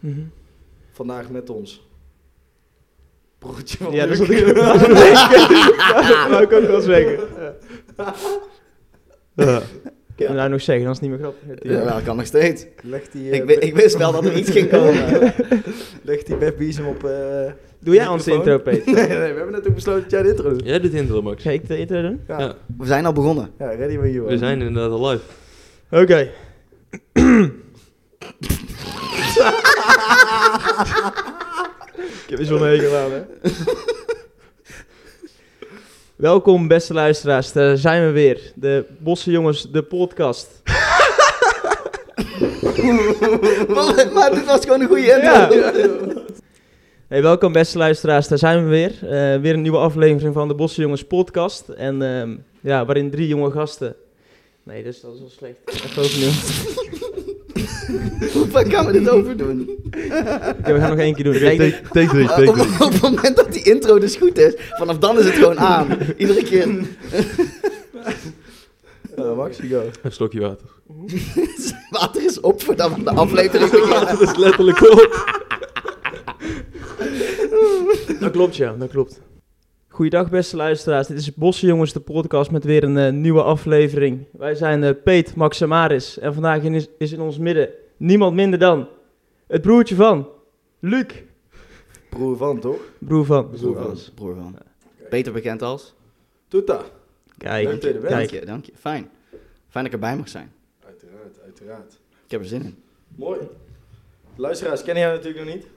Mhm. Vandaag met ons. Broertje van Ja, dat Luc. kan ik wel zeggen. Dat kan ik wel zeggen. Ja. Kunnen we nou nog zeggen, dan is het niet meer grappig. Ja. wel kan nog steeds. Leg die, eh, Ik, wi- ik wist wel dat er iets ging komen. Leg die webbies op. eh, Doe jij onze microfoon. intro, Peter? nee, nee, we hebben net ook besloten dat jij de intro doet. Jij doet intro, Max. Ga ik de intro doen? Ja. Ja. We zijn al begonnen. Ja, ready when you are. We zijn inderdaad al live. Oké. ik heb eens wel meegedaan, hè? Welkom, beste luisteraars. Daar zijn we weer. De Bosse Jongens, de podcast. maar, maar dit was gewoon een goede intro. Hey, welkom, beste luisteraars. Daar zijn we weer. Eh, weer een nieuwe aflevering van de Bosse Jongens podcast. En ehm, ja, waarin drie jonge gasten... Nee, dus dat is wel slecht. Even overnieuw. Waar gaan we dit over doen? Oké, we gaan nog één keer doen. Kijk, take three, op, op het moment dat die intro dus goed is, vanaf dan is het gewoon aan. Iedere keer. Eh, Max, you go. Een slokje water. Water is op voordat we de aflevering beginnen. Dat is letterlijk op. Dat klopt, ja, dat klopt. Goeiedag, beste luisteraars. Dit is Bosse Jongens, de podcast met weer een eh, nieuwe aflevering. Wij zijn eh, Peet, Max en Maris. En vandaag in is, is in ons midden niemand minder dan het broertje van Luc. Broer van, toch? Broer van. Broer van. Broer van. Beter bekend als. Toeta. Kijk, Leuk dat je er bent. Dank kijk. je, dank je. Fijn. Fijn dat ik erbij mag zijn. Uiteraard, uiteraard. Ik heb er zin in. Mooi. De luisteraars kennen jou natuurlijk nog niet. Eh,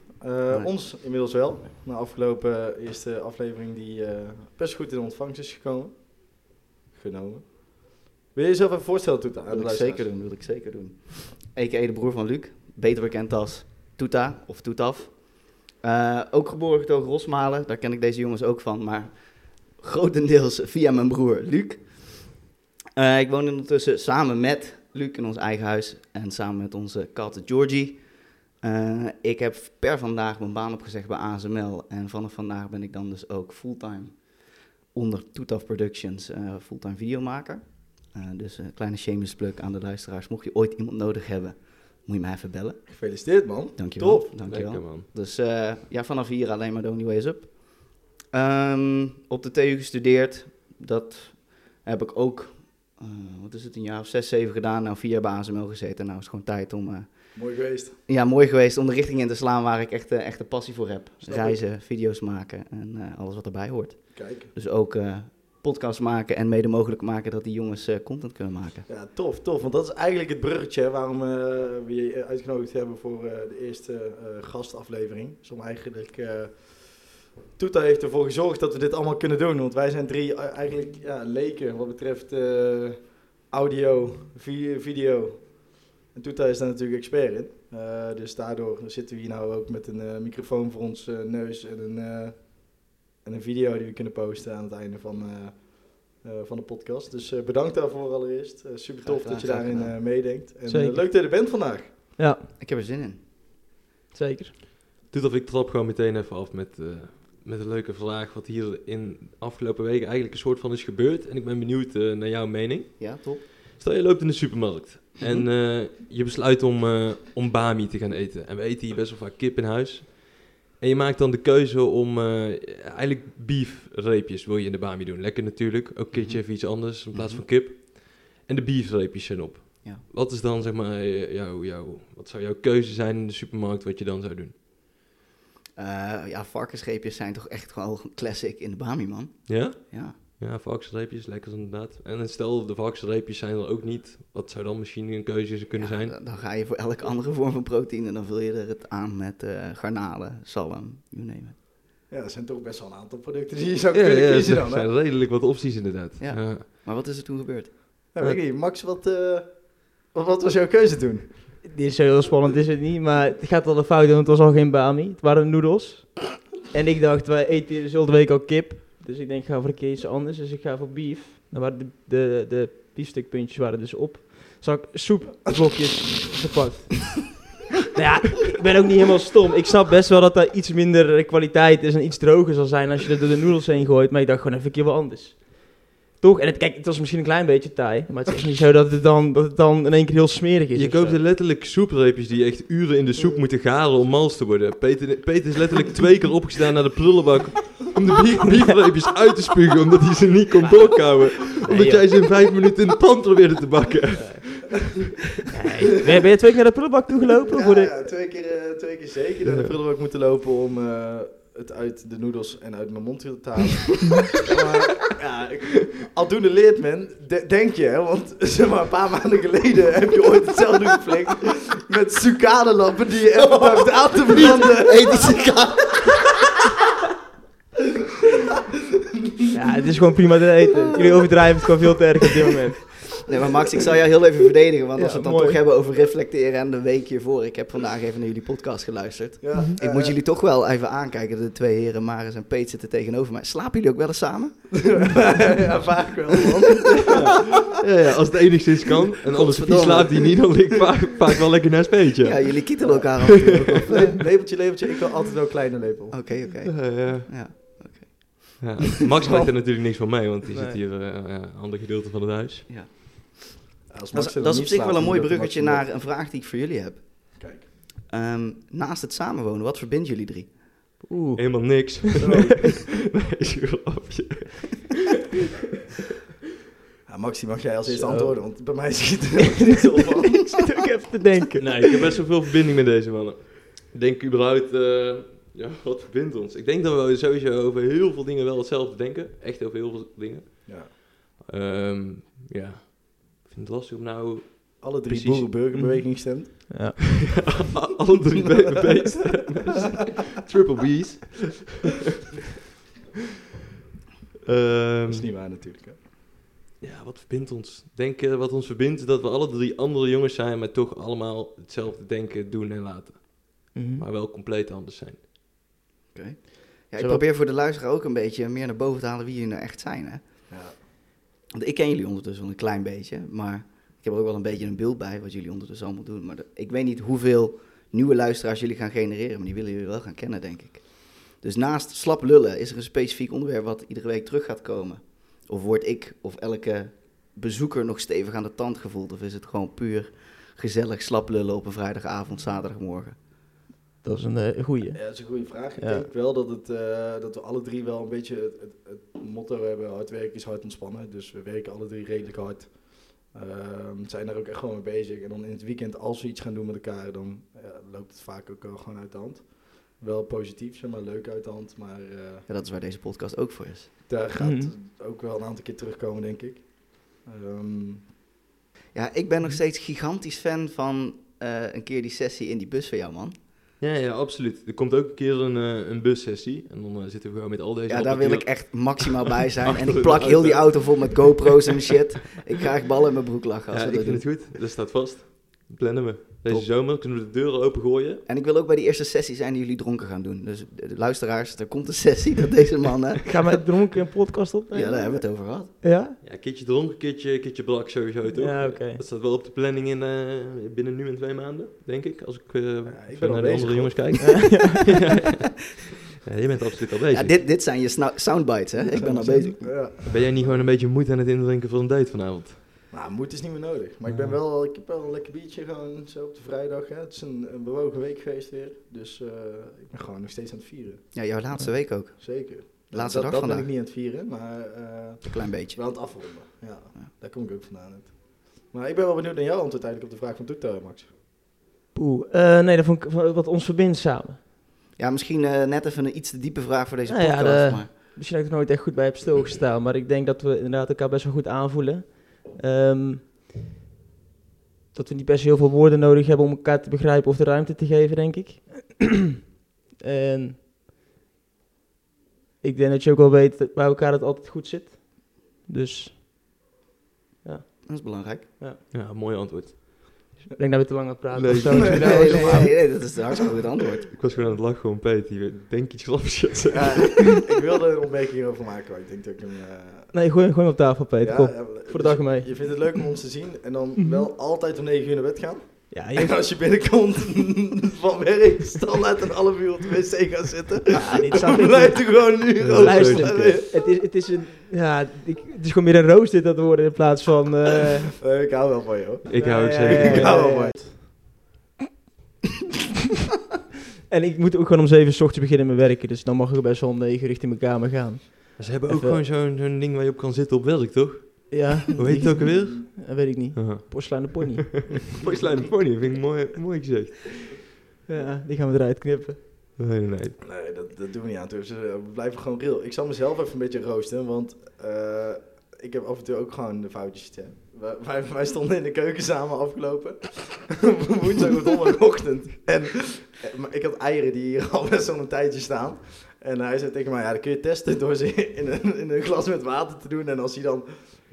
Nee. Ons inmiddels wel. Na afgelopen eh, eerste aflevering die eh, best goed in ontvangst is gekomen. Genomen. Wil je jezelf even voorstellen, Toeta? aan de Dat wil ik luisteraars? zeker doen, wil ik zeker doen. A.k.a. de broer van Luc. Beter bekend als Toeta of Toetaf. Eh, ook geboren getogen Rosmalen. Daar ken ik deze jongens ook van. Maar grotendeels via mijn broer Luc. Eh, ik woon ondertussen samen met Luc in ons eigen huis. En samen met onze kat Georgie. Eh, ik heb per vandaag mijn baan opgezegd bij ASML. En vanaf vandaag ben ik dan dus ook fulltime onder Toetaf Productions eh, fulltime videomaker. Eh, dus een kleine shameless plug aan de luisteraars. Mocht je ooit iemand nodig hebben, moet je mij even bellen. Gefeliciteerd, man. Dankjewel. Top. Dankjewel. Lekker, man. Dus eh, ja, vanaf hier alleen maar de Only Ways Up. Ehm, op de TU gestudeerd. Dat heb ik ook, eh, wat is het, een jaar of zes, zeven gedaan. Nou, vier jaar bij ASML gezeten. Nou is het gewoon tijd om... eh, Mooi geweest. ja, mooi geweest om de richting in te slaan waar ik echt, eh, echt een passie voor heb. Snap ik. Reizen, video's maken en eh, alles wat erbij hoort. Kijk. Dus ook eh podcasts maken en mede mogelijk maken dat die jongens eh, content kunnen maken. Ja, tof, tof. Want dat is eigenlijk het bruggetje hè, waarom eh, we je eh, uitgenodigd hebben voor eh, de eerste eh, gastaflevering. Dus om eigenlijk... eh Toeta heeft ervoor gezorgd dat we dit allemaal kunnen doen. Want wij zijn drie eh, eigenlijk ja, leken wat betreft eh, audio, vi- video. En Toeta is daar natuurlijk expert in. Eh, dus daardoor zitten we hier nou ook met een eh, microfoon voor ons eh, neus en een, eh, en een video die we kunnen posten aan het einde van... eh, eh, van de podcast. Dus eh, bedankt daarvoor allereerst. Eh, super tof Graag gedaan, dat je graag daarin gedaan. eh, meedenkt. En eh, Zeker. leuk dat je er bent vandaag. Ja, Ik heb er zin in. zeker. Doet of ik trap gewoon meteen even af met, eh, met een leuke vraag. Wat hier in de afgelopen weken eigenlijk een soort van is gebeurd. En ik ben benieuwd eh, naar jouw mening. Ja, top. Stel je loopt in de supermarkt. Mhm. En eh, je besluit om, eh, om Bami te gaan eten. En we eten hier best wel vaak kip in huis. En je maakt dan de keuze om eh, eigenlijk beefreepjes wil je in de Bami doen. Lekker natuurlijk. Mhm. Ook keertje even iets anders in plaats van kip. En de beefreepjes zijn op. Ja. Wat is dan zeg maar eh, jouw, jouw, wat zou jouw keuze zijn in de supermarkt wat je dan zou doen? Eh, ja, varkensreepjes zijn toch echt gewoon classic in de Bami, man. Ja? Ja. Ja, varkensreepjes, lekker inderdaad. En dan stel de varkensreepjes zijn er ook niet. Wat zou dan misschien een keuze kunnen Ja, zijn? d- Dan ga je voor elke andere vorm van proteïne, dan vul je er het aan met eh, garnalen, zalm, you name it. Ja, dat zijn toch best wel een aantal producten die Dus je zou Ja, kunnen ja, er kiezen dan. Hè? zijn redelijk wat opties inderdaad. Ja. Ja. Maar wat is er toen gebeurd? Nou, weet ik niet. Max, wat, eh, wat, wat was jouw keuze toen? Dit is zo heel spannend, is het niet. Maar het gaat al een fout doen, want het was al geen bami. Het waren noedels. En ik dacht, wij eten hier de week al kip. Dus ik denk, ik ga voor een keer iets anders. Dus ik ga voor beef. Dan waren de, de, de biefstukpuntjes waren dus op. Zag ik soepblokjes gepakt. nou ja, ik ben ook niet helemaal stom. Ik snap best wel dat daar iets minder kwaliteit is en iets droger zal zijn als je er door de noedels heen gooit. Maar ik dacht gewoon even een keer wat anders. Toch? En het, kijk, het was misschien een klein beetje taai, maar het is niet zo dat het dan, dat het dan in één keer heel smerig is. Je of zo. koopt er letterlijk soepreepjes die echt uren in de soep moeten garen om mals te worden. Peter, Peter is letterlijk twee keer opgestaan naar de prullenbak om de bier- biefreepjes uit te spugen omdat hij ze niet kon doorkouwen. Omdat joh. jij ze in vijf minuten in de pan probeerde te bakken. Nee, ben, je, ben je twee keer naar de prullenbak toe gelopen? Ja, voor de... ja, twee, keer, eh, twee keer zeker naar de prullenbak moeten lopen om eh, het uit de noedels en uit mijn mond te halen. maar ja, ik- aldoende leert men, de- denk je, hè, want zeg maar, een paar maanden geleden heb je ooit hetzelfde geflikt met sucadelappen die je even dacht aan te branden. Ethische Ja, het is gewoon prima te eten. Jullie overdrijven het gewoon veel te erg op dit moment. Nee, maar Max, ik zal jou heel even verdedigen. Want Ja, als we het dan mooi. toch hebben over reflecteren en de week hiervoor. Ik heb vandaag even naar jullie podcast geluisterd. Ja, eh, Ik moet jullie toch wel even aankijken. De twee heren, Maris en Peet, zitten tegenover mij. Slapen jullie ook wel eens samen? ja, vaak wel. man. Ja, ja, als het enigszins kan. En anders die Godverdomme. slaapt die niet, dan lig ik vaak, vaak wel lekker naast Peetje. Ja, Ja, jullie kietelen elkaar af. en toe ook wel. Le- Lepeltje, lepeltje, ik wil altijd wel een kleine lepel. Oké, oké. ja. Ja. Ja, Max maakt er natuurlijk niks van mee, want die zit Nee. hier eh, eh, ander gedeelte van het huis. Als Dat Max is, er dat is niet op zich slaapt, wel een dan mooi moet ik ook bruggetje Max naar een vraag die ik voor jullie heb. Kijk. Ehm, naast het samenwonen, wat verbindt jullie drie? Oeh. Helemaal niks. doen. Zo. Nee, is een grapje. Ja, Max, die mag jij als eerste Zo. antwoorden, want bij mij schiet er helemaal niks op van. ik zit ook even te denken. Nee, ik heb best wel veel verbinding met deze mannen. Ik denk überhaupt, eh, ja, wat verbindt ons? Ik denk dat we sowieso over heel veel dingen wel hetzelfde denken. Echt over heel veel dingen. Ja. Ehm, ja, ik vind het lastig om nou... Alle drie Precies. Mm-hmm. boerenburgerbeweging stemt. Ja. Alle drie BBB's. Triple B's. Ehm, Dat is niet waar natuurlijk. Hè. ja, wat verbindt ons? Denk eh, wat ons verbindt is dat we alle drie andere jongens zijn, maar toch allemaal hetzelfde denken, doen en laten. Mhm. Maar wel compleet anders zijn. Ja, ik Zo- probeer voor de luisteraar ook een beetje meer naar boven te halen wie jullie nou echt zijn. Hè? Ja. Want ik ken jullie ondertussen wel een klein beetje, maar ik heb er ook wel een beetje een beeld bij wat jullie ondertussen allemaal doen. Maar de- ik weet niet hoeveel nieuwe luisteraars jullie gaan genereren, maar die willen jullie wel gaan kennen, denk ik. Dus naast slap lullen is er een specifiek onderwerp wat iedere week terug gaat komen. Of word ik of elke bezoeker nog stevig aan de tand gevoeld? Of is het gewoon puur gezellig slap lullen op een vrijdagavond, zaterdagmorgen? Dat is een eh, goeie. Ja, dat is een goede vraag. Ik Ja. denk wel dat, het, eh, dat we alle drie wel een beetje het, het, het motto hebben: hard werken is hard ontspannen. Dus we werken alle drie redelijk hard. Ehm, zijn daar ook echt gewoon mee bezig. En dan in het weekend, als we iets gaan doen met elkaar, dan ja, loopt het vaak ook wel gewoon uit de hand. Wel positief, zeg maar, leuk uit de hand. Maar eh, Ja, dat is waar deze podcast ook voor is. daar gaat Mhm. ook wel een aantal keer terugkomen, denk ik. Ehm, Ja, ik ben nog steeds gigantisch fan van eh, een keer die sessie in die bus van jou, man. Ja, ja, absoluut. Er komt ook een keer een, eh, een bussessie. En dan eh, zitten we gewoon met al deze Ja, daar wil ik apparatuur. echt maximaal bij zijn. En Achter ik de plak heel die auto. auto vol met GoPro's en shit. Ik ga echt ballen in mijn broek lachen als Ja, we ik dat vind doen. het goed. Dat staat vast. Dat Plannen we. Deze Top. zomer kunnen we de deuren opengooien. En ik wil ook bij die eerste sessie zijn die jullie dronken gaan doen. Dus de de luisteraars, er komt een sessie dat deze mannen... Gaan we dronken een podcast Ja, opnemen? daar hebben we het over gehad. Ja? Ja, keertje dronken, keertje, keertje brak sowieso, toch? Ja, oké. Dat staat wel op de planning in, eh, binnen nu en twee maanden, denk ik. Als ik, eh, ben zo al naar de bezig, andere hoor. jongens kijk. ja, je bent absoluut al bezig. Ja, dit, dit zijn je snou- soundbites, hè. Ik ben al bezig. ja. Ben jij niet gewoon een beetje moed aan het indrinken voor een date vanavond? Nou, moed is niet meer nodig. Maar ik, ben wel, ik heb wel een lekker biertje gewoon zo op de vrijdag. Hè. Het is een, een bewogen week geweest weer. Dus eh, ik ben gewoon nog steeds aan het vieren. Ja, jouw laatste week ook. Zeker. Laatste dat, dag dat vandaag. ben ik niet aan het vieren, maar eh, Een klein beetje. wel aan het afronden. Ja, Ja. daar kom ik ook vandaan. uit. Maar ik ben wel benieuwd naar jouw antwoord eigenlijk op de vraag van Toekta, Max. Poeh. Eh, nee, dat vond ik van- wat ons verbindt samen. Ja, misschien eh, net even een iets te diepe vraag voor deze Nou ja, podcast, de- maar... Misschien dat ik er nooit echt goed bij heb stilgestaan, maar ik denk dat we inderdaad elkaar best wel goed aanvoelen. Ehm, dat we niet best heel veel woorden nodig hebben om elkaar te begrijpen of de ruimte te geven, denk ik. en ik denk dat je ook wel weet dat bij elkaar het altijd goed zit. Dus Dat is belangrijk. Ja, mooi antwoord. ik denk dat we te lang aan het praten Nee. of zo. Nee, nee, nee, nee, dat is een hartstikke goed antwoord. Ik was gewoon aan het lachen om Peet, die denk iets grappigs gaat zeggen. Ja, ik wilde er een opmerking hierover maken, maar ik denk dat ik hem... eh, Nee, gooi, gooi hem op tafel, Peter. ja, Kom, ja, voor dus de dag mee. Mhm. Je vindt het leuk om ons te zien en dan wel altijd om 9 uur naar bed gaan. Ja, En je, als je binnenkomt van werk, standaard een half uur op de wc gaan zitten. ja, Ah, dit Dan staat echt- blijft er gewoon een uur Ja, over. Luister, Sorry. het is, het, is een, ja, ik, het is gewoon meer een roast dit dat te worden in plaats van... eh, Eh, Ik hou wel van je hoor. Ik hou het eh, zeker. Ik hou wel van je. En ik moet ook gewoon om 7 uur ochtends beginnen met werken, dus dan mag ik best wel om 9 uur richting mijn kamer gaan. Ze hebben ook Even- gewoon zo'n zo'n ding waar je op kan zitten op werk, toch? Ja. Hoe heet het ook alweer? Dat weet ik niet. Aha. Porseleinen pony. Porseleinen pony, vind ik mooi, mooi gezegd. Ja, die gaan we eruit knippen. Nee, nee, nee. Nee, dat, dat doen we niet aan. Dus, eh, we blijven gewoon real. Ik zal mezelf even een beetje roosten, want eh, ik heb af en toe ook gewoon de foutjes te hebben. Wij- Wij, wij stonden in de keuken samen afgelopen. Woensdag of donderdagochtend. En eh, maar ik had eieren die hier al best wel een tijdje staan. En hij zei tegen mij, ja, dat kun je testen door ze in een, in een glas met water te doen. En als hij dan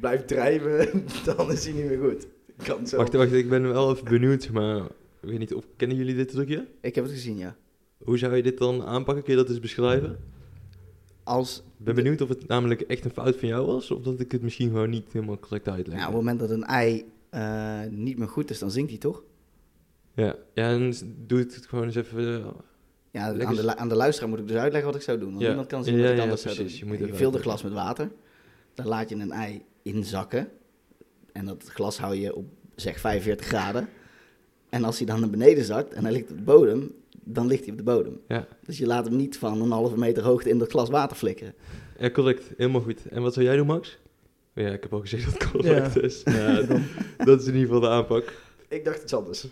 blijft drijven, dan is hij niet meer goed. Ik Kan zo. Wacht, wacht, ik ben wel even benieuwd, maar ik weet niet of kennen jullie dit trucje? Ik heb het gezien, ja. Hoe zou je dit dan aanpakken? Kun je dat eens beschrijven? Als, Ik ben benieuwd of het namelijk echt een fout van jou was, of dat ik het misschien gewoon niet helemaal correct uitleg. nou, op het moment dat een ei eh, niet meer goed is, dan zinkt hij toch? Ja, ja, en s- doe het gewoon eens even. eh, Ja, Lekker aan de, lu- aan de luisteraar moet ik dus uitleggen wat ik zou doen. Want Ja. niemand kan zien Ja, wat ik ja, anders zou precies. doen. Je moet Je, even vult een glas uitleggen. met water. Dan laat je een ei inzakken. En dat glas hou je op zeg 45 graden. En als hij dan naar beneden zakt en hij ligt op de bodem, dan ligt hij op de bodem. Ja. Dus je laat hem niet van een halve meter hoogte in dat glas water flikkeren. Ja, correct. Helemaal goed. En wat zou jij doen, Max? Ja, ik heb al gezegd dat het correct Ja. is. Ja, dat- dat is in ieder geval de aanpak. Ik dacht iets anders.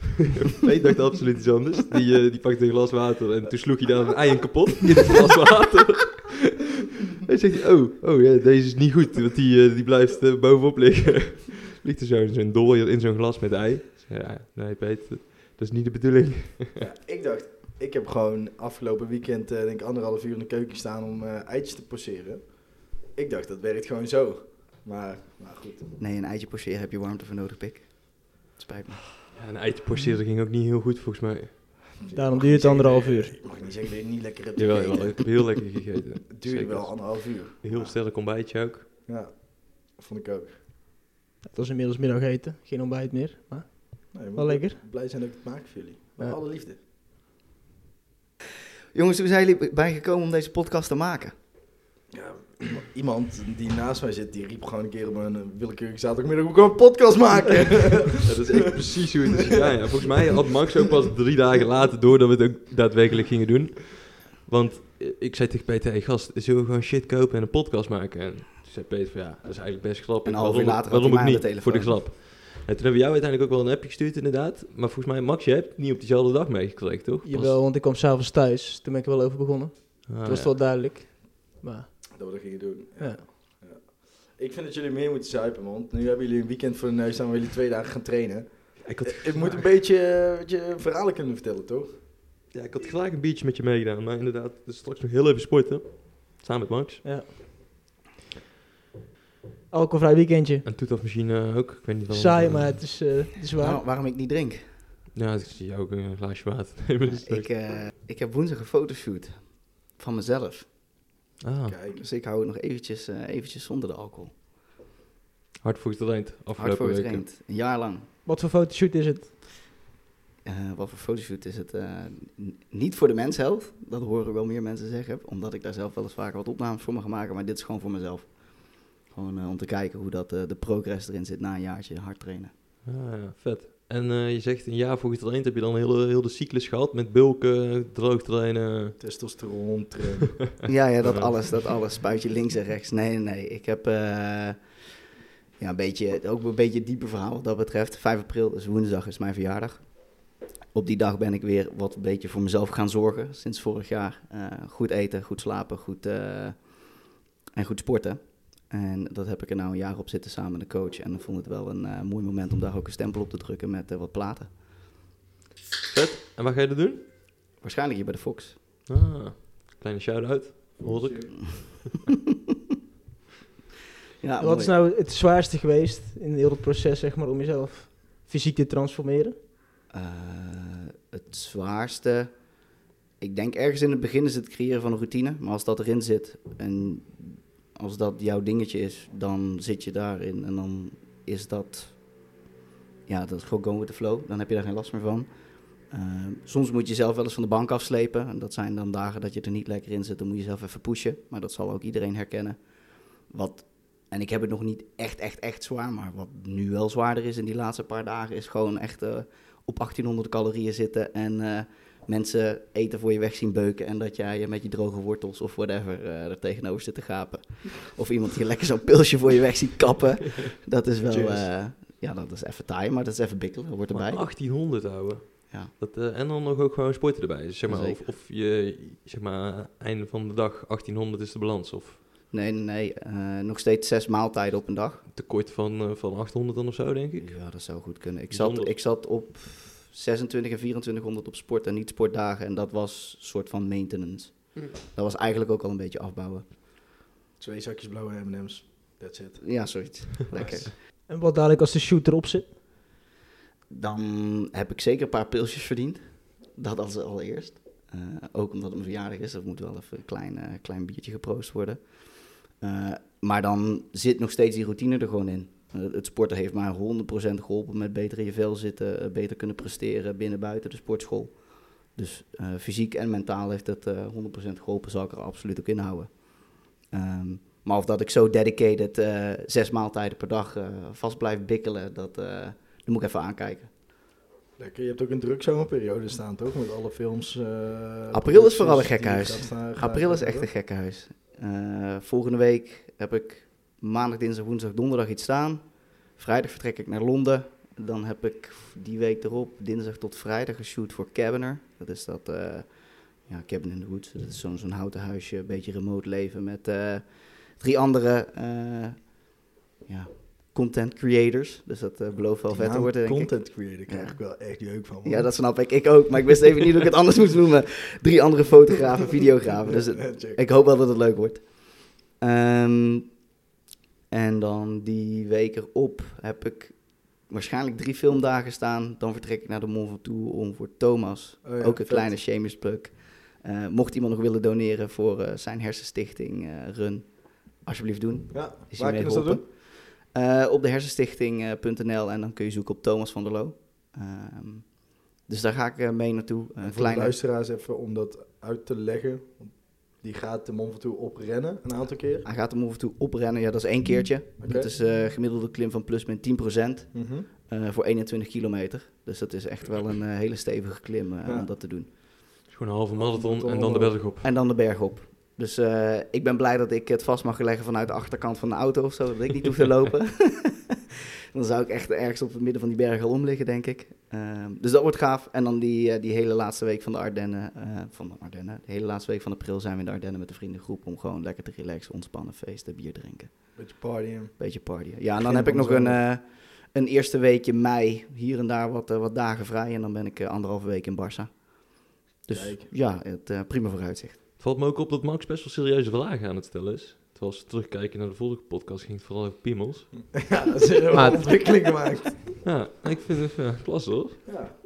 Ik dacht absoluut iets anders. Die, eh, die pakte een glas water en toen sloeg hij daar een ei in kapot in het glas water. Hij zegt, oh, oh ja, deze is niet goed, want die, eh, die blijft eh, bovenop liggen. Ligt er zo in zo'n dooier in zo'n glas met ei. Ik zeg, Ja, nee Peter, dat is niet de bedoeling. Ja, ik dacht, ik heb gewoon afgelopen weekend eh, denk ik anderhalf uur in de keuken staan om eh, eitjes te poseren. Ik dacht, dat werkt gewoon zo. Maar, maar goed. Nee, een eitje pocheren heb je warmte voor nodig, pik. Het spijt me. Ja, een eitje porseren ging ook niet heel goed volgens mij. Daarom duurt het anderhalf uur. Ik eh, mag niet zeggen dat je niet lekker hebt Jawel, gegeten. jawel, ik heb heel lekker gegeten. Het duurde Zeker. wel anderhalf uur. Heel Ja. sterk ontbijtje ook. Ja, vond ik ook. Het was inmiddels middageten, geen ontbijt meer. Maar Nee, we wel moeten lekker. Blij zijn dat ik het maak voor jullie. Met Ja. alle liefde. Jongens, hoe zijn jullie bij gekomen om deze podcast te maken? Ja, iemand- iemand die naast mij zit, die riep gewoon een keer op een eh, willekeurig zaterdagmiddag, we gaan een podcast maken. Ja, dat is echt precies hoe het is gegaan. Ja, volgens mij had Max ook pas drie dagen later door dat we het ook daadwerkelijk gingen doen. Want eh, ik zei tegen Peter, hey gast, zullen we gewoon shit kopen en een podcast maken? En toen zei Peter van, ja, dat is eigenlijk best grappig. Een half uur Waarom- later had hij waarom ik mij aan niet, de voor de telefoon. grap. En toen hebben we jou uiteindelijk ook wel een appje gestuurd inderdaad. Maar volgens mij, Max, je hebt het niet op diezelfde dag meegekregen, toch? Pas- Jawel, want ik kwam s'avonds thuis. Toen ben ik er wel over begonnen. Ah, Toen was het ja. wel duidelijk. Maar Dat we dat gingen doen. ja. Ik vind dat jullie meer moeten zuipen, want nu hebben jullie een weekend voor de neus en jullie twee dagen gaan trainen. Ik had, Ik, moet een beetje eh, weet je, verhalen kunnen vertellen, toch? ja, ik had graag een biertje met je meegedaan. Maar inderdaad, dus straks nog heel even sporten. Samen met Max. Alcoholvrij weekendje. En Toetaf misschien eh, ook. Ik weet niet waarom- Saai, maar het is, eh, het is waar. Waarom- Nou, waarom ik niet drink? Ja, ik zie jou ook een glaasje water nemen. dus- Ik, eh, ik heb woensdag een fotoshoot van mezelf. Ah. Kijk, Dus ik hou het nog eventjes, eh, eventjes zonder de alcohol. Hard voor getraind Hard voor afgelopen weken. getraind. Een jaar lang. Wat voor fotoshoot is het? Eh, wat voor fotoshoot is het? eh, n- niet voor de mens zelf. Dat horen wel meer mensen zeggen. Omdat ik daar zelf wel eens vaker wat opnames voor me ga maken. Maar dit is gewoon voor mezelf. Gewoon eh, om te kijken hoe dat, eh, de progress erin zit na een jaartje hard trainen. Ah, ja, vet. En eh, je zegt een jaar voor getraind. Heb je dan heel, heel de cyclus gehad met bulken, droog trainen? testosteron, trainen. ja, ja, dat alles, dat alles. Spuitje links en rechts. Nee, nee, nee. Ik heb eh, ja, een beetje, ook een beetje een dieper verhaal wat dat betreft. 5 april, dus woensdag, is mijn verjaardag. Op die dag ben ik weer wat een beetje voor mezelf gaan zorgen sinds vorig jaar. Eh, goed eten, goed slapen, goed, eh, en goed sporten. En dat heb ik er nou een jaar op zitten samen met de coach. En ik vond het wel een eh, mooi moment om daar ook een stempel op te drukken met eh, wat platen. Vet. eh, En wat ga je dat doen? Waarschijnlijk hier bij de Fox. Ah, kleine shout-out. Hoor ik. Ja, Wat is mooi. nou het zwaarste geweest in heel het proces, zeg maar, om jezelf fysiek te transformeren? Eh, het zwaarste. Ik denk ergens in het begin is het creëren van een routine. Maar als dat erin zit en als dat jouw dingetje is, dan zit je daarin. En dan is dat ja, dat is gewoon going with the flow. Dan heb je daar geen last meer van. Eh, soms moet je zelf wel eens van de bank afslepen. En dat zijn dan dagen dat je er niet lekker in zit. Dan moet je zelf even pushen. Maar dat zal ook iedereen herkennen. Wat, en ik heb het nog niet echt, echt, echt zwaar. Maar wat nu wel zwaarder is in die laatste paar dagen... is gewoon echt eh, op 1800 calorieën zitten. En eh, mensen eten voor je weg zien beuken. En dat jij eh, met je droge wortels of whatever eh, er tegenover zit te gapen. Of iemand die lekker zo'n pilsje voor je weg ziet kappen. Dat is wel... Cheers. eh, ja, dat is even taai, maar dat is even bikkelen. Dat hoort Maar erbij. 1800 houden. Ja. Dat, eh, en dan ook, ook gewoon sporten erbij. Dus zeg maar, of, Zeker. of je, zeg maar, einde van de dag 1800 is de balans. Of Nee, nee, nee. eh, nog steeds zes maaltijden op een dag. tekort van, eh, van 800 dan of zo, denk ik. Ja, dat zou goed kunnen. Ik zat, Bijzonder. ik zat op 26 en 2400 op sport en niet sportdagen. En dat was soort van maintenance. Dat was eigenlijk ook al een beetje afbouwen. Twee zakjes blauwe M&M's. That's it. Ja, zoiets. Lekker. En wat dadelijk als de shoot erop zit? Dan heb ik zeker een paar pilsjes verdiend. Dat als allereerst. Eh, ook omdat het mijn verjaardag is. Dat moet wel even een klein, eh, klein biertje geproost worden. Eh, maar dan zit nog steeds die routine er gewoon in. Eh, het sporten heeft mij 100% geholpen met beter in je vel zitten. eh, beter kunnen presteren binnen buiten de sportschool. Dus eh, fysiek en mentaal heeft het eh 100% geholpen. Zal ik er absoluut ook in houden. Ehm, maar of dat ik zo dedicated eh, zes maaltijden per dag eh, vast blijf bikkelen. Dat... eh, dan moet ik even aankijken. Lekker. Je hebt ook een druk zomerperiode staan, toch? Met alle films. eh, April is vooral een producties gek die je huis. gaat staan- gaat April is hebben, echt een toch? gekkenhuis. Eh volgende week heb ik maandag, dinsdag, woensdag, donderdag iets staan. Vrijdag vertrek ik naar Londen. Dan heb ik die week erop, dinsdag tot vrijdag, geshoot voor Cabiner. Dat is dat, eh, ja, Cabin in the Woods. Dat is zo'n zo'n houten huisje, een beetje remote leven met eh, drie andere eh, ja, content creators. Dus dat eh, belooft wel Die vet te naam worden, denk ik. Content creator krijg Ja. ik wel echt jeuk van. man. Ja, dat snap ik. Ik ook. Maar ik wist even niet hoe ik het anders moest noemen. Drie andere fotografen, videografen. Dus het- Check. ik hoop wel dat het leuk wordt. Ehm, en dan die week erop heb ik waarschijnlijk drie filmdagen staan. Dan vertrek ik naar de Mont Ventoux om voor Thomas, Oh ja, ook een vet. kleine shameless plug. Eh, mocht iemand nog willen doneren voor eh, zijn hersenstichting eh, Run, alsjeblieft doen. Ja, Is waar hiermee kunnen ze dat geholpen? doen? Eh, op de hersenstichting.nl en dan kun je zoeken op Thomas van der Loo. Ehm, dus daar ga ik eh, mee naartoe. Een Voor de kleine luisteraars even om dat uit te leggen. Die gaat de Mont Ventoux oprennen een aantal keer. Hij gaat hem over toe oprennen. Ja, dat is één keertje. Oké. Dat is eh gemiddelde klim van plus min 10% Mhm. eh, voor 21 kilometer. Dus dat is echt wel een eh, hele stevige klim eh, Ja. om dat te doen. Dus gewoon een halve marathon marathon en dan de omhoog. berg op. En dan de berg op. Dus eh, ik ben blij dat ik het vast mag leggen vanuit de achterkant van de auto of zo. Dat ik niet hoef te lopen. dan zou ik echt ergens op het midden van die berg al omliggen, denk ik. Ehm, dus dat wordt gaaf. En dan die, eh, die hele laatste week van de Ardennen. eh, van de Ardennen. De hele laatste week van april zijn we in de Ardennen met de vriendengroep. Om gewoon lekker te relaxen, ontspannen, feesten, bier drinken. Beetje partyen. Beetje partyen. Ja, en dan Begin heb ik van nog de een, zomer. eh, een eerste weekje mei. Hier en daar wat, eh, wat dagen vrij. En dan ben ik eh, anderhalve week in Barça. Dus Kijk. ja, het eh, prima vooruitzicht. Het valt me ook op dat Max best wel serieuze vragen aan het stellen is. Terwijl als we terugkijken naar de vorige podcast ging het vooral over piemels. Ja, ze hebben Maat. een ontwikkeling gemaakt. Ja, ik vind het eh, klasse hoor. Ja.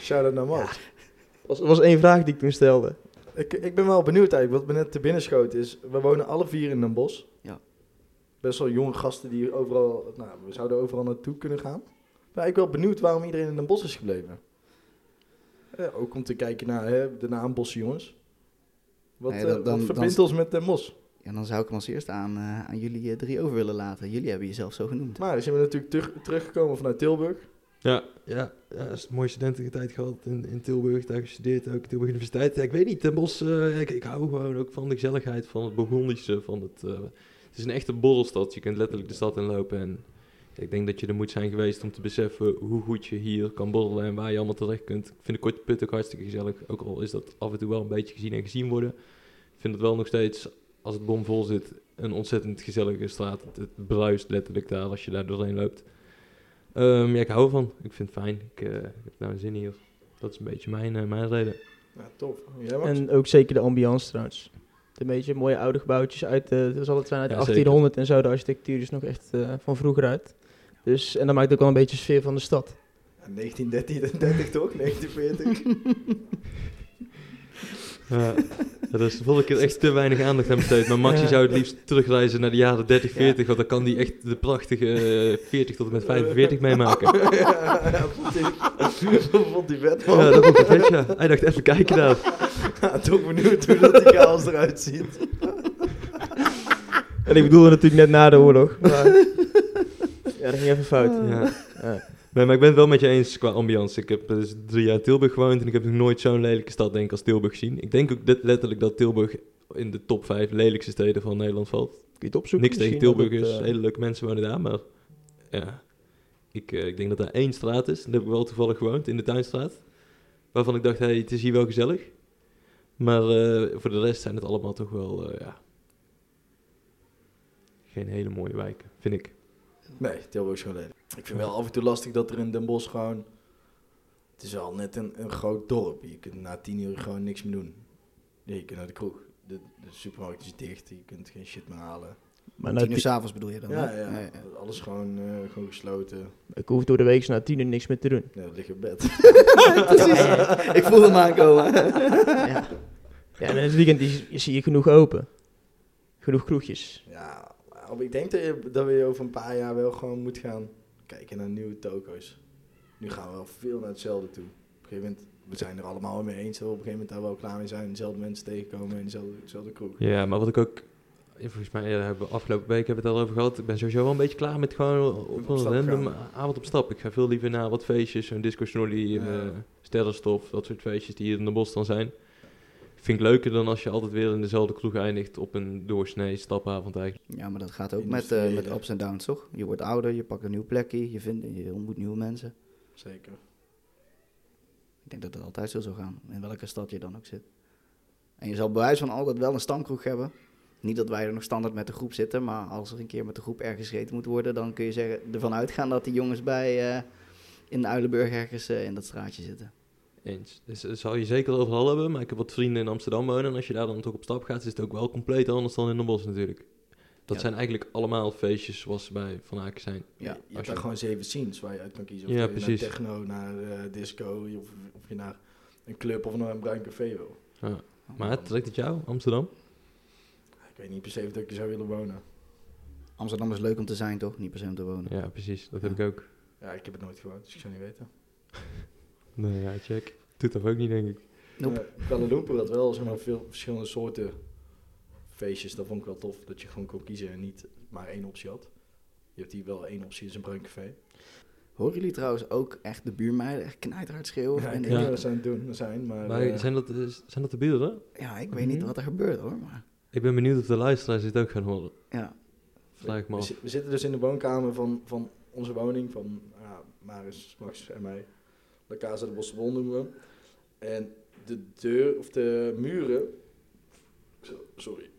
Shout-out naar Max. Dat was, was één vraag die ik toen stelde. Ik, ik ben wel benieuwd eigenlijk, wat me net te binnen schoot is. We wonen alle vier in Den Bosch. Ja. Best wel jonge gasten die overal, nou, we zouden overal naartoe kunnen gaan. Maar ik ben wel benieuwd waarom iedereen in Den Bosch is gebleven. Eh, ook om te kijken naar hè, de naam Bosse jongens. Wat, Nee, eh, dat- dan- wat dan- verbindt ons met Den Bosch? En dan zou ik hem als eerst aan, eh, aan jullie eh, drie over willen laten. Jullie hebben jezelf zo genoemd. Maar dan zijn we natuurlijk terug, teruggekomen vanuit Tilburg. Ja, ja, ja dat is een mooie studententijd gehad in, in Tilburg. Daar gestudeerd ook, Tilburg Universiteit. Ja, ik weet niet, Den Bosch, eh, ik, ik hou gewoon ook van de gezelligheid, van het Burgondische. Van het, eh, het is een echte borrelstad. Je kunt letterlijk de stad inlopen. En ik denk dat je er moet zijn geweest om te beseffen hoe goed je hier kan borrelen en waar je allemaal terecht kunt. Ik vind de Korte Put ook hartstikke gezellig. Ook al is dat af en toe wel een beetje gezien en gezien worden. Ik vind het wel nog steeds, als het bomvol zit, een ontzettend gezellige straat. Het, het bruist letterlijk daar als je daar doorheen loopt. Ehm, ja, ik hou ervan. Ik vind het fijn. Ik eh, heb nou zin hier. Dat is een beetje mijn, eh, mijn reden. Ja, tof. Oh, Jij Max? En ook zeker de ambiance trouwens. Een beetje mooie oude gebouwtjes uit de, dat zal het zijn uit de Ja, zeker. 1800 en zo. De architectuur is nog echt eh, van vroeger uit. Dus, en dat maakt ook wel een beetje de sfeer van de stad. Ja, 1930 toch? 1940? Ja. Er is de vorige keer echt te weinig aandacht aan besteed. Maar Maxi Ja. zou het liefst terugreizen naar de jaren 30, 40. Want dan kan hij echt de prachtige eh, 40 tot en met 45 meemaken. dat vond hij vet, man. Ja, dat vond ik vet, ja. Hij dacht even kijken daar. Toch benieuwd hoe dat die chaos eruit ziet. En ik bedoelde natuurlijk net na de oorlog. Maar... ja, dat ging even fout. Ja. Ja. Nee, maar ik ben het wel met je eens qua ambiance. Ik heb eh, dus drie jaar in Tilburg gewoond en ik heb nog nooit zo'n lelijke stad denk ik als Tilburg gezien. Ik denk ook dit- letterlijk dat Tilburg in de top 5 lelijkste steden van Nederland valt. Kun je het opzoeken? Niks tegen Misschien dat Tilburg is, het, eh, hele leuke mensen wonen daar, maar ja. Ik, eh, ik denk dat daar één straat is, daar heb ik wel toevallig gewoond, in de Tuinstraat. Waarvan ik dacht, hey, het is hier wel gezellig. Maar eh, voor de rest zijn het allemaal toch wel, eh, ja... Geen hele mooie wijken, vind ik. Nee, Tilburg is gewoon lelijk. Ik vind wel af en toe lastig dat er in Den Bosch gewoon... Het is wel net een, een groot dorp. Je kunt na tien uur gewoon niks meer doen. Nee, je kunt naar de kroeg. De, de supermarkt is dicht, je kunt geen shit meer halen. Maar Tien uur nou, s'avonds bedoel je dan? Ja, hè? ja. Alles gewoon, eh, gewoon gesloten. eh, ik hoef door de week na tien uur niks meer te doen. Nee, lig op bed. Precies. Ik voel hem aankomen. ja. Ja, en in het weekend is, zie je genoeg open. Genoeg kroegjes. ja, maar ik denk dat, je- dat we over een paar jaar wel gewoon moet gaan kijken naar nieuwe toko's. Nu gaan we wel veel naar hetzelfde toe. Op een gegeven moment, we zijn er allemaal wel mee eens dat we op een gegeven moment daar wel klaar mee zijn. Dezelfde mensen tegenkomen in dezelfde, dezelfde kroeg. Ja, maar wat ik ook... Volgens mij ja, daar hebben we afgelopen week hebben we het al over gehad. Ik ben sowieso wel een beetje klaar met gewoon op Op een stap random avond op stap. Ik ga veel liever naar wat feestjes, zo'n disco snorly, Ja. eh, sterrenstof, dat soort feestjes die hier in de bos dan zijn. Vind ik leuker dan als je altijd weer in dezelfde kroeg eindigt op een doorsnee stapavond eigenlijk. Ja, maar dat gaat ook met, eh, met ups en downs, toch? Je wordt ouder, je pakt een nieuw plekje, je, vindt, je ontmoet nieuwe mensen. Zeker. Ik denk dat het altijd zo zal gaan, in welke stad je dan ook zit. En je zal bij wijze van altijd wel een stamkroeg hebben. Niet dat wij er nog standaard met de groep zitten, maar als er een keer met de groep ergens gegeten moet worden, dan kun je zeggen, ervan uitgaan dat die jongens bij eh, in Uilenburg ergens eh, in dat straatje zitten. Eens. Dus dat zal je zeker overal hebben, maar ik heb wat vrienden in Amsterdam wonen. En als je daar dan toch op stap gaat, is het ook wel compleet anders dan in de bos natuurlijk. Dat Ja. zijn eigenlijk allemaal feestjes zoals ze bij Van Aken zijn. Ja, Ja, als je hebt je- daar gewoon zeven scenes waar je uit kan kiezen. Of Ja, je precies. naar techno, naar eh, disco, je- of, of je naar een club of naar een bruin café wil. Maar trekt het jou, Amsterdam? Ik weet niet per se of dat ik je zou willen wonen. Amsterdam is leuk om te zijn, toch? Niet per se om te wonen. Ja, precies. Dat Ja. heb ik ook. Ja, ik heb het nooit gewoond, dus ik zou niet weten. Nee, ja, check. Doet dat ook niet, denk ik. Nope. Eh, Kuala Lumpur had wel zeg maar, veel verschillende soorten feestjes. Dat vond ik wel tof, dat je gewoon kon kiezen en niet maar één optie had. Je hebt hier wel één optie, is een bruin café. Horen jullie trouwens ook echt de buurmeiden echt knijterhard schreeuwen? Ja, En ik ik- weet niet wat ze aan het doen zijn, maar... Maar eh, zijn, dat, is- zijn dat de beelden? ja, ik weet niet Mhm. wat er gebeurt hoor, maar Ik ben benieuwd of de luisteraars dit ook gaan horen. ja. Vraag ik me we, af. zi- we zitten dus in de woonkamer van, van onze woning, van ja, Maris, Max en mij. La Casa de Bosse Bol noemen we. hem. En de deur, of de muren... Zo, Sorry.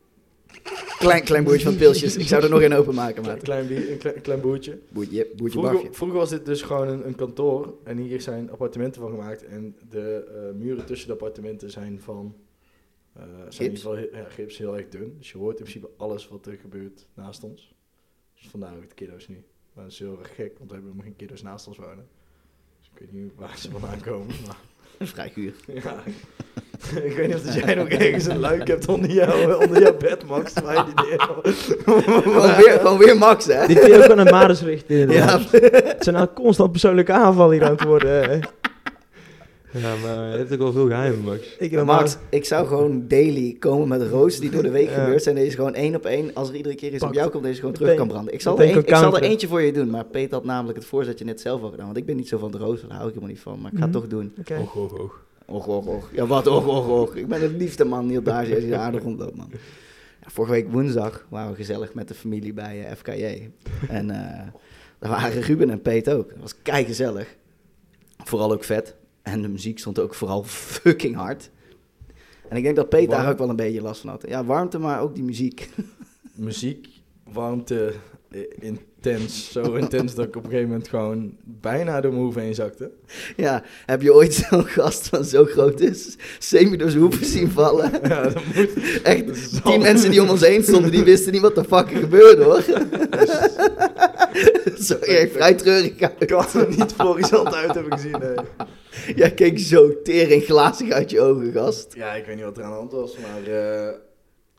Klein, klein boertje van pilsjes. Ik zou er nog één openmaken, Een maar... klein, bier- een klein, een klein boertje. Boertje, boertje Vroeger, barfje. vroeger was dit dus gewoon een, een kantoor en hier zijn appartementen van gemaakt. En de eh, muren tussen de appartementen zijn van eh, zijn in Gips? ieder geval he- ja, gips heel erg dun. Dus je hoort in principe alles wat er gebeurt naast ons. Dus vandaar ook de kiddo's nu. Maar dat is heel erg gek, want we hebben nog geen kiddo's naast ons wonen. Dus ik weet niet waar ze vandaan komen. Maar, Vrij guur. ja. ik weet niet of dat jij nog ergens een luik hebt onder jouw, onder jouw bed, Max. Waar je die Gewoon weer, gewoon weer Max, hè? Dit kun je ook aan een Maris richten. inderdaad. Ja, Het zijn nou constant persoonlijke aanvallen hier aan het worden. eh. Ja, maar je hebt ook wel veel geheimen, Max. Ik maar heb Max, ik zou gewoon daily komen met roos die door de week Ja. gebeurd zijn. Deze gewoon één op één. Als er iedere keer iets op Pak. jou komt, deze gewoon terug Meteen- kan branden. Ik zal, er, meteen een- kan ik zal er counteren. eentje voor je doen. Maar Peet had namelijk het voorzetje net zelf al gedaan. Want ik ben niet zo van de roos, daar hou ik helemaal niet van. Maar ik ga het Mhm. toch doen. Oké. Och, och, och. Och, och, och. Ja, wat, och, och, och. Ik ben het liefste man die op de ACS hier aardig rondloopt, man. Ja, vorige week woensdag waren we gezellig met de familie bij eh, FKJ. En eh, daar waren Ruben en Peet ook. Dat was kei gezellig. Vooral ook vet. En de muziek stond ook vooral fucking hard. En ik denk dat Peet daar Warm. ook wel een beetje last van had. Ja, warmte, maar ook die muziek. muziek, warmte, eh, intens. Zo intens dat ik op een gegeven moment gewoon bijna door mijn hoeven heen zakte. ja, heb je ooit zo'n gast van zo groot is? Semi door zijn hoeven zien vallen? Ja, dat moet. Echt, dat is die al- mensen die om ons heen stonden, die wisten niet wat de fuck er gebeurde, hoor. Dus, Sorry, ik vrij treurig uit. Ik had er niet florisant uit hebben gezien, nee. Jij keek zo tering glazig uit je ogen, gast. Ja, ik weet niet wat er aan de hand was, maar... eh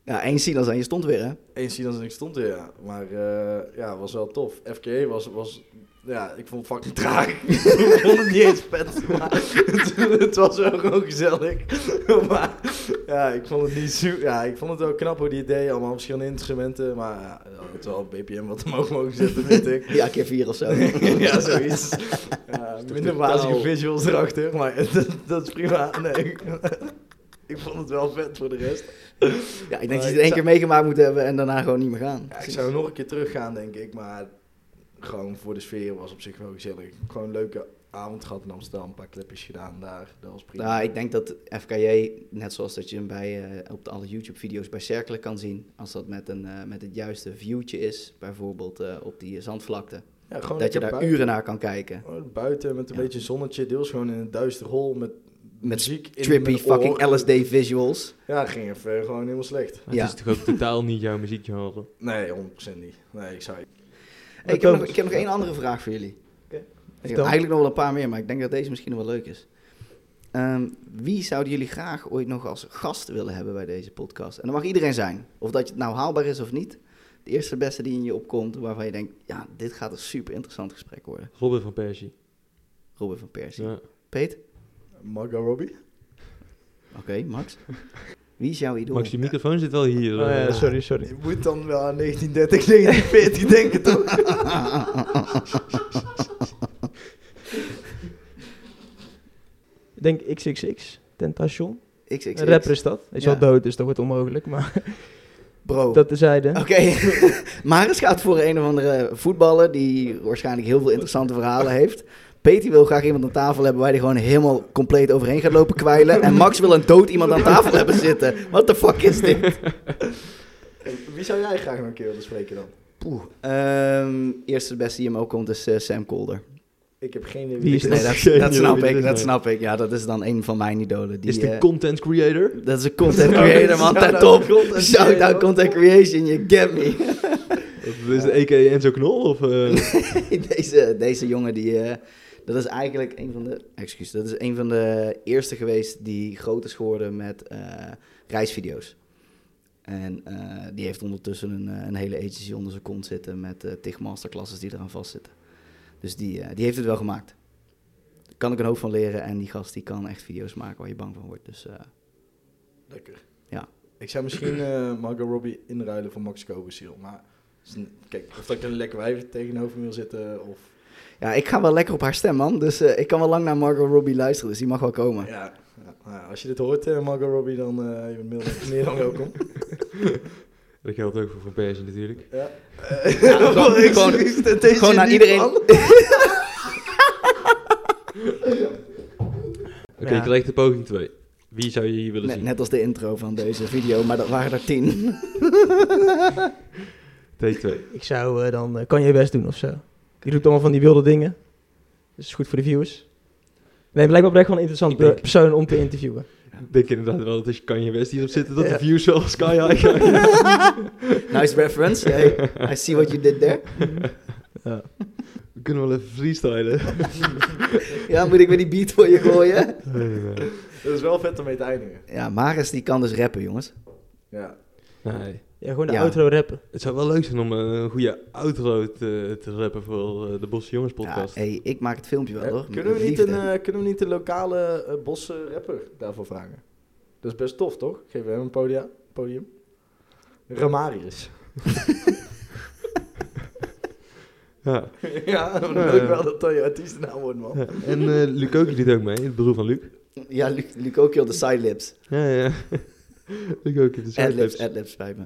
Ja, één Sinas aan je stond weer, hè? Eens zien als ik stond er, ja. Maar eh, ja, was wel tof. FKA was... was ja, ik vond het fucking traag. ik vond het niet eens vet, maar het, het was wel gewoon gezellig. maar ja, ik vond het niet zo... Ja, ik vond het wel knap hoe die het deed. Allemaal verschillende instrumenten. Maar ja, het wel BPM wat omhoog mogen zetten, vind ik. Ja, keer vier of zo. ja, zoiets. Ja, minder wazige taal? visuals erachter, maar dat, dat is prima. Nee, ik vond het wel vet voor de rest. Ja, ik denk dat je het één keer meegemaakt moet hebben en daarna gewoon niet meer gaan. Ja, ik zou nog een keer teruggaan, denk ik, maar gewoon voor de sfeer was op zich wel gezellig. Gewoon een leuke avond gehad in Amsterdam, een paar clipjes gedaan daar, dat was prima. Nou, ik denk dat FKJ, net zoals dat je hem bij, eh, op de alle YouTube-video's bij Cerkelen kan zien, als dat met, een, eh, met het juiste viewtje is, bijvoorbeeld eh, op die zandvlakte, ja, gewoon dat je daar lekker bui- uren naar kan kijken. gewoon buiten met een Ja. beetje zonnetje, deels gewoon in een duister hol met, muziek in Trippy mijn fucking oor. LSD visuals. Ja, ging even gewoon helemaal slecht. Het Ja. is toch ook totaal niet jouw muziekgenre? Nee, 100% niet. Nee, ik zou... Hey, ik, heb nog, ik heb nog één andere vraag voor jullie. Oké. Ik heb Vertel. eigenlijk nog wel een paar meer, maar ik denk dat deze misschien nog wel leuk is. Ehm, wie zouden jullie graag ooit nog als gast willen hebben bij deze podcast? En dat mag iedereen zijn. Of dat het nou haalbaar is of niet. De eerste beste die in je opkomt, waarvan je denkt... ja, dit gaat een super interessant gesprek worden. Robin van Persie. Robin van Persie. Ja. Peet? Margot Robbie? Oké, Max? Wie is jouw idool? Max, je microfoon zit wel hier. Oh, eh. ja, sorry, sorry. Je moet dan wel aan 1930, 1940 denken, toch? Ik denk XXX, Tentation. XXX. Een rapper is dat. Hij is Ja. wel dood, dus dat wordt onmogelijk. Maar Bro. dat tezijde. Oké, Maris gaat voor een of andere voetballer die waarschijnlijk heel veel interessante verhalen heeft. Peter wil graag iemand aan tafel hebben waar hij gewoon helemaal compleet overheen gaat lopen kwijlen. En Max wil een dood iemand aan tafel hebben zitten. What the fuck is dit? Wie zou jij graag nog een keer willen spreken dan? Poeh. Ehm, eerste beste die hem ook komt is eh, Sam Colder. Ik heb geen idee Wie is dit Nee, dat? dat, dat Geen snap idee, ik, nee. dat snap ik. Ja, dat is dan een van mijn idolen. Die, is de eh, content creator? dat is een content creator, man. Ten top. Shout out content creation, you get me. Of is de EK E Enzo Knol? Of, eh, deze, deze jongen die. eh, dat is eigenlijk een van de. Excuus, dat is een van de eerste geweest die groot is geworden met eh, reisvideo's. En eh, die heeft ondertussen een, eh, een hele agency onder zijn kont zitten met eh tig masterclasses die eraan vastzitten. Dus die, eh, die heeft het wel gemaakt. Daar kan ik een hoop van leren en die gast die kan echt video's maken waar je bang van wordt. Dus eh, Lekker. Ja. Ik zou misschien eh, Margot Robbie inruilen voor Max Cobasiel. Maar is een- kijk, of dat ik een lekker wijf tegenover me wil zitten. Of, ja, ik ga wel lekker op haar stem man. Dus eh, ik kan wel lang naar Margot Robbie luisteren, dus die mag wel komen. ja, ja, nou ja, als je dit hoort, eh, Margot Robbie, dan eh je bent meer dan, meer dan welkom. dat geldt ook voor Van Persie natuurlijk. Ja. gewoon- gewoon- Gewoon naar iedereen. Oké, Ja. je krijgt de poging 2. Wie zou je hier willen Net, zien? net als de intro van deze video, maar dat waren er tien. Take 2. Ik zou eh, dan eh, kan je best doen of zo. Je doet allemaal van die wilde dingen. Dat is goed voor de viewers. Nee, blijkbaar ben ik gewoon een interessant Ik denk- per- persoon om te interviewen. Ik denk inderdaad wel dat als je Kanye West hierop zitten, dat Ja. de views wel sky high gaan. Nice reference. Hey, I see what you did there. We kunnen wel even freestylen. Ja, moet ik weer die beat voor je gooien? Dat is wel vet om mee te eindigen. Ja, Maris die kan dus rappen, jongens. Ja. Nee. Ja, gewoon de Ja. outro rappen. Het zou wel leuk zijn om eh, een goede outro te, te rappen voor eh, de Bosse Jongens Ja, podcast. hey, ik maak het filmpje wel, hoor. kunnen, we Met niet een, liefde. eh, kunnen we niet een lokale eh, bosse rapper daarvoor vragen? Dat is best tof, toch? Geven we hem een podia, podium. Ramarius. Ja. ja, dan Ja, wil ik ja. wel dat dat je artiestennaam wordt, man. Ja. En eh Luc ook liet ook mee, het broer van Luc. Ja, Luc, Luc ook heel de side lips. Ja, ja. Luc ook in de Adlibs, sidelips. adlibs bij me.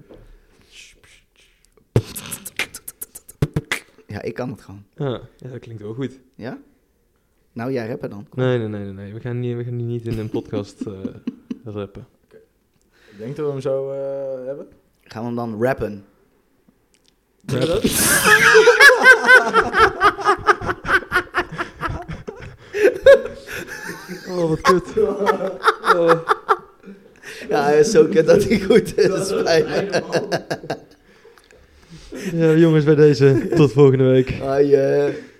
Ja, ik kan het gewoon. Ja. ja, dat klinkt wel goed. Ja? Nou, jij rappen dan. Nee, nee, nee, nee. nee. We, gaan niet, we gaan hier niet in een podcast eh, rappen. Ik denk dat we hem zo eh, hebben. Gaan we hem dan rappen? Doen we dat? Oh, wat kut. Ja, hij is zo kut dat hij goed is. spijt me. Ja, jongens, bij deze. Tot volgende week. Ah, yeah.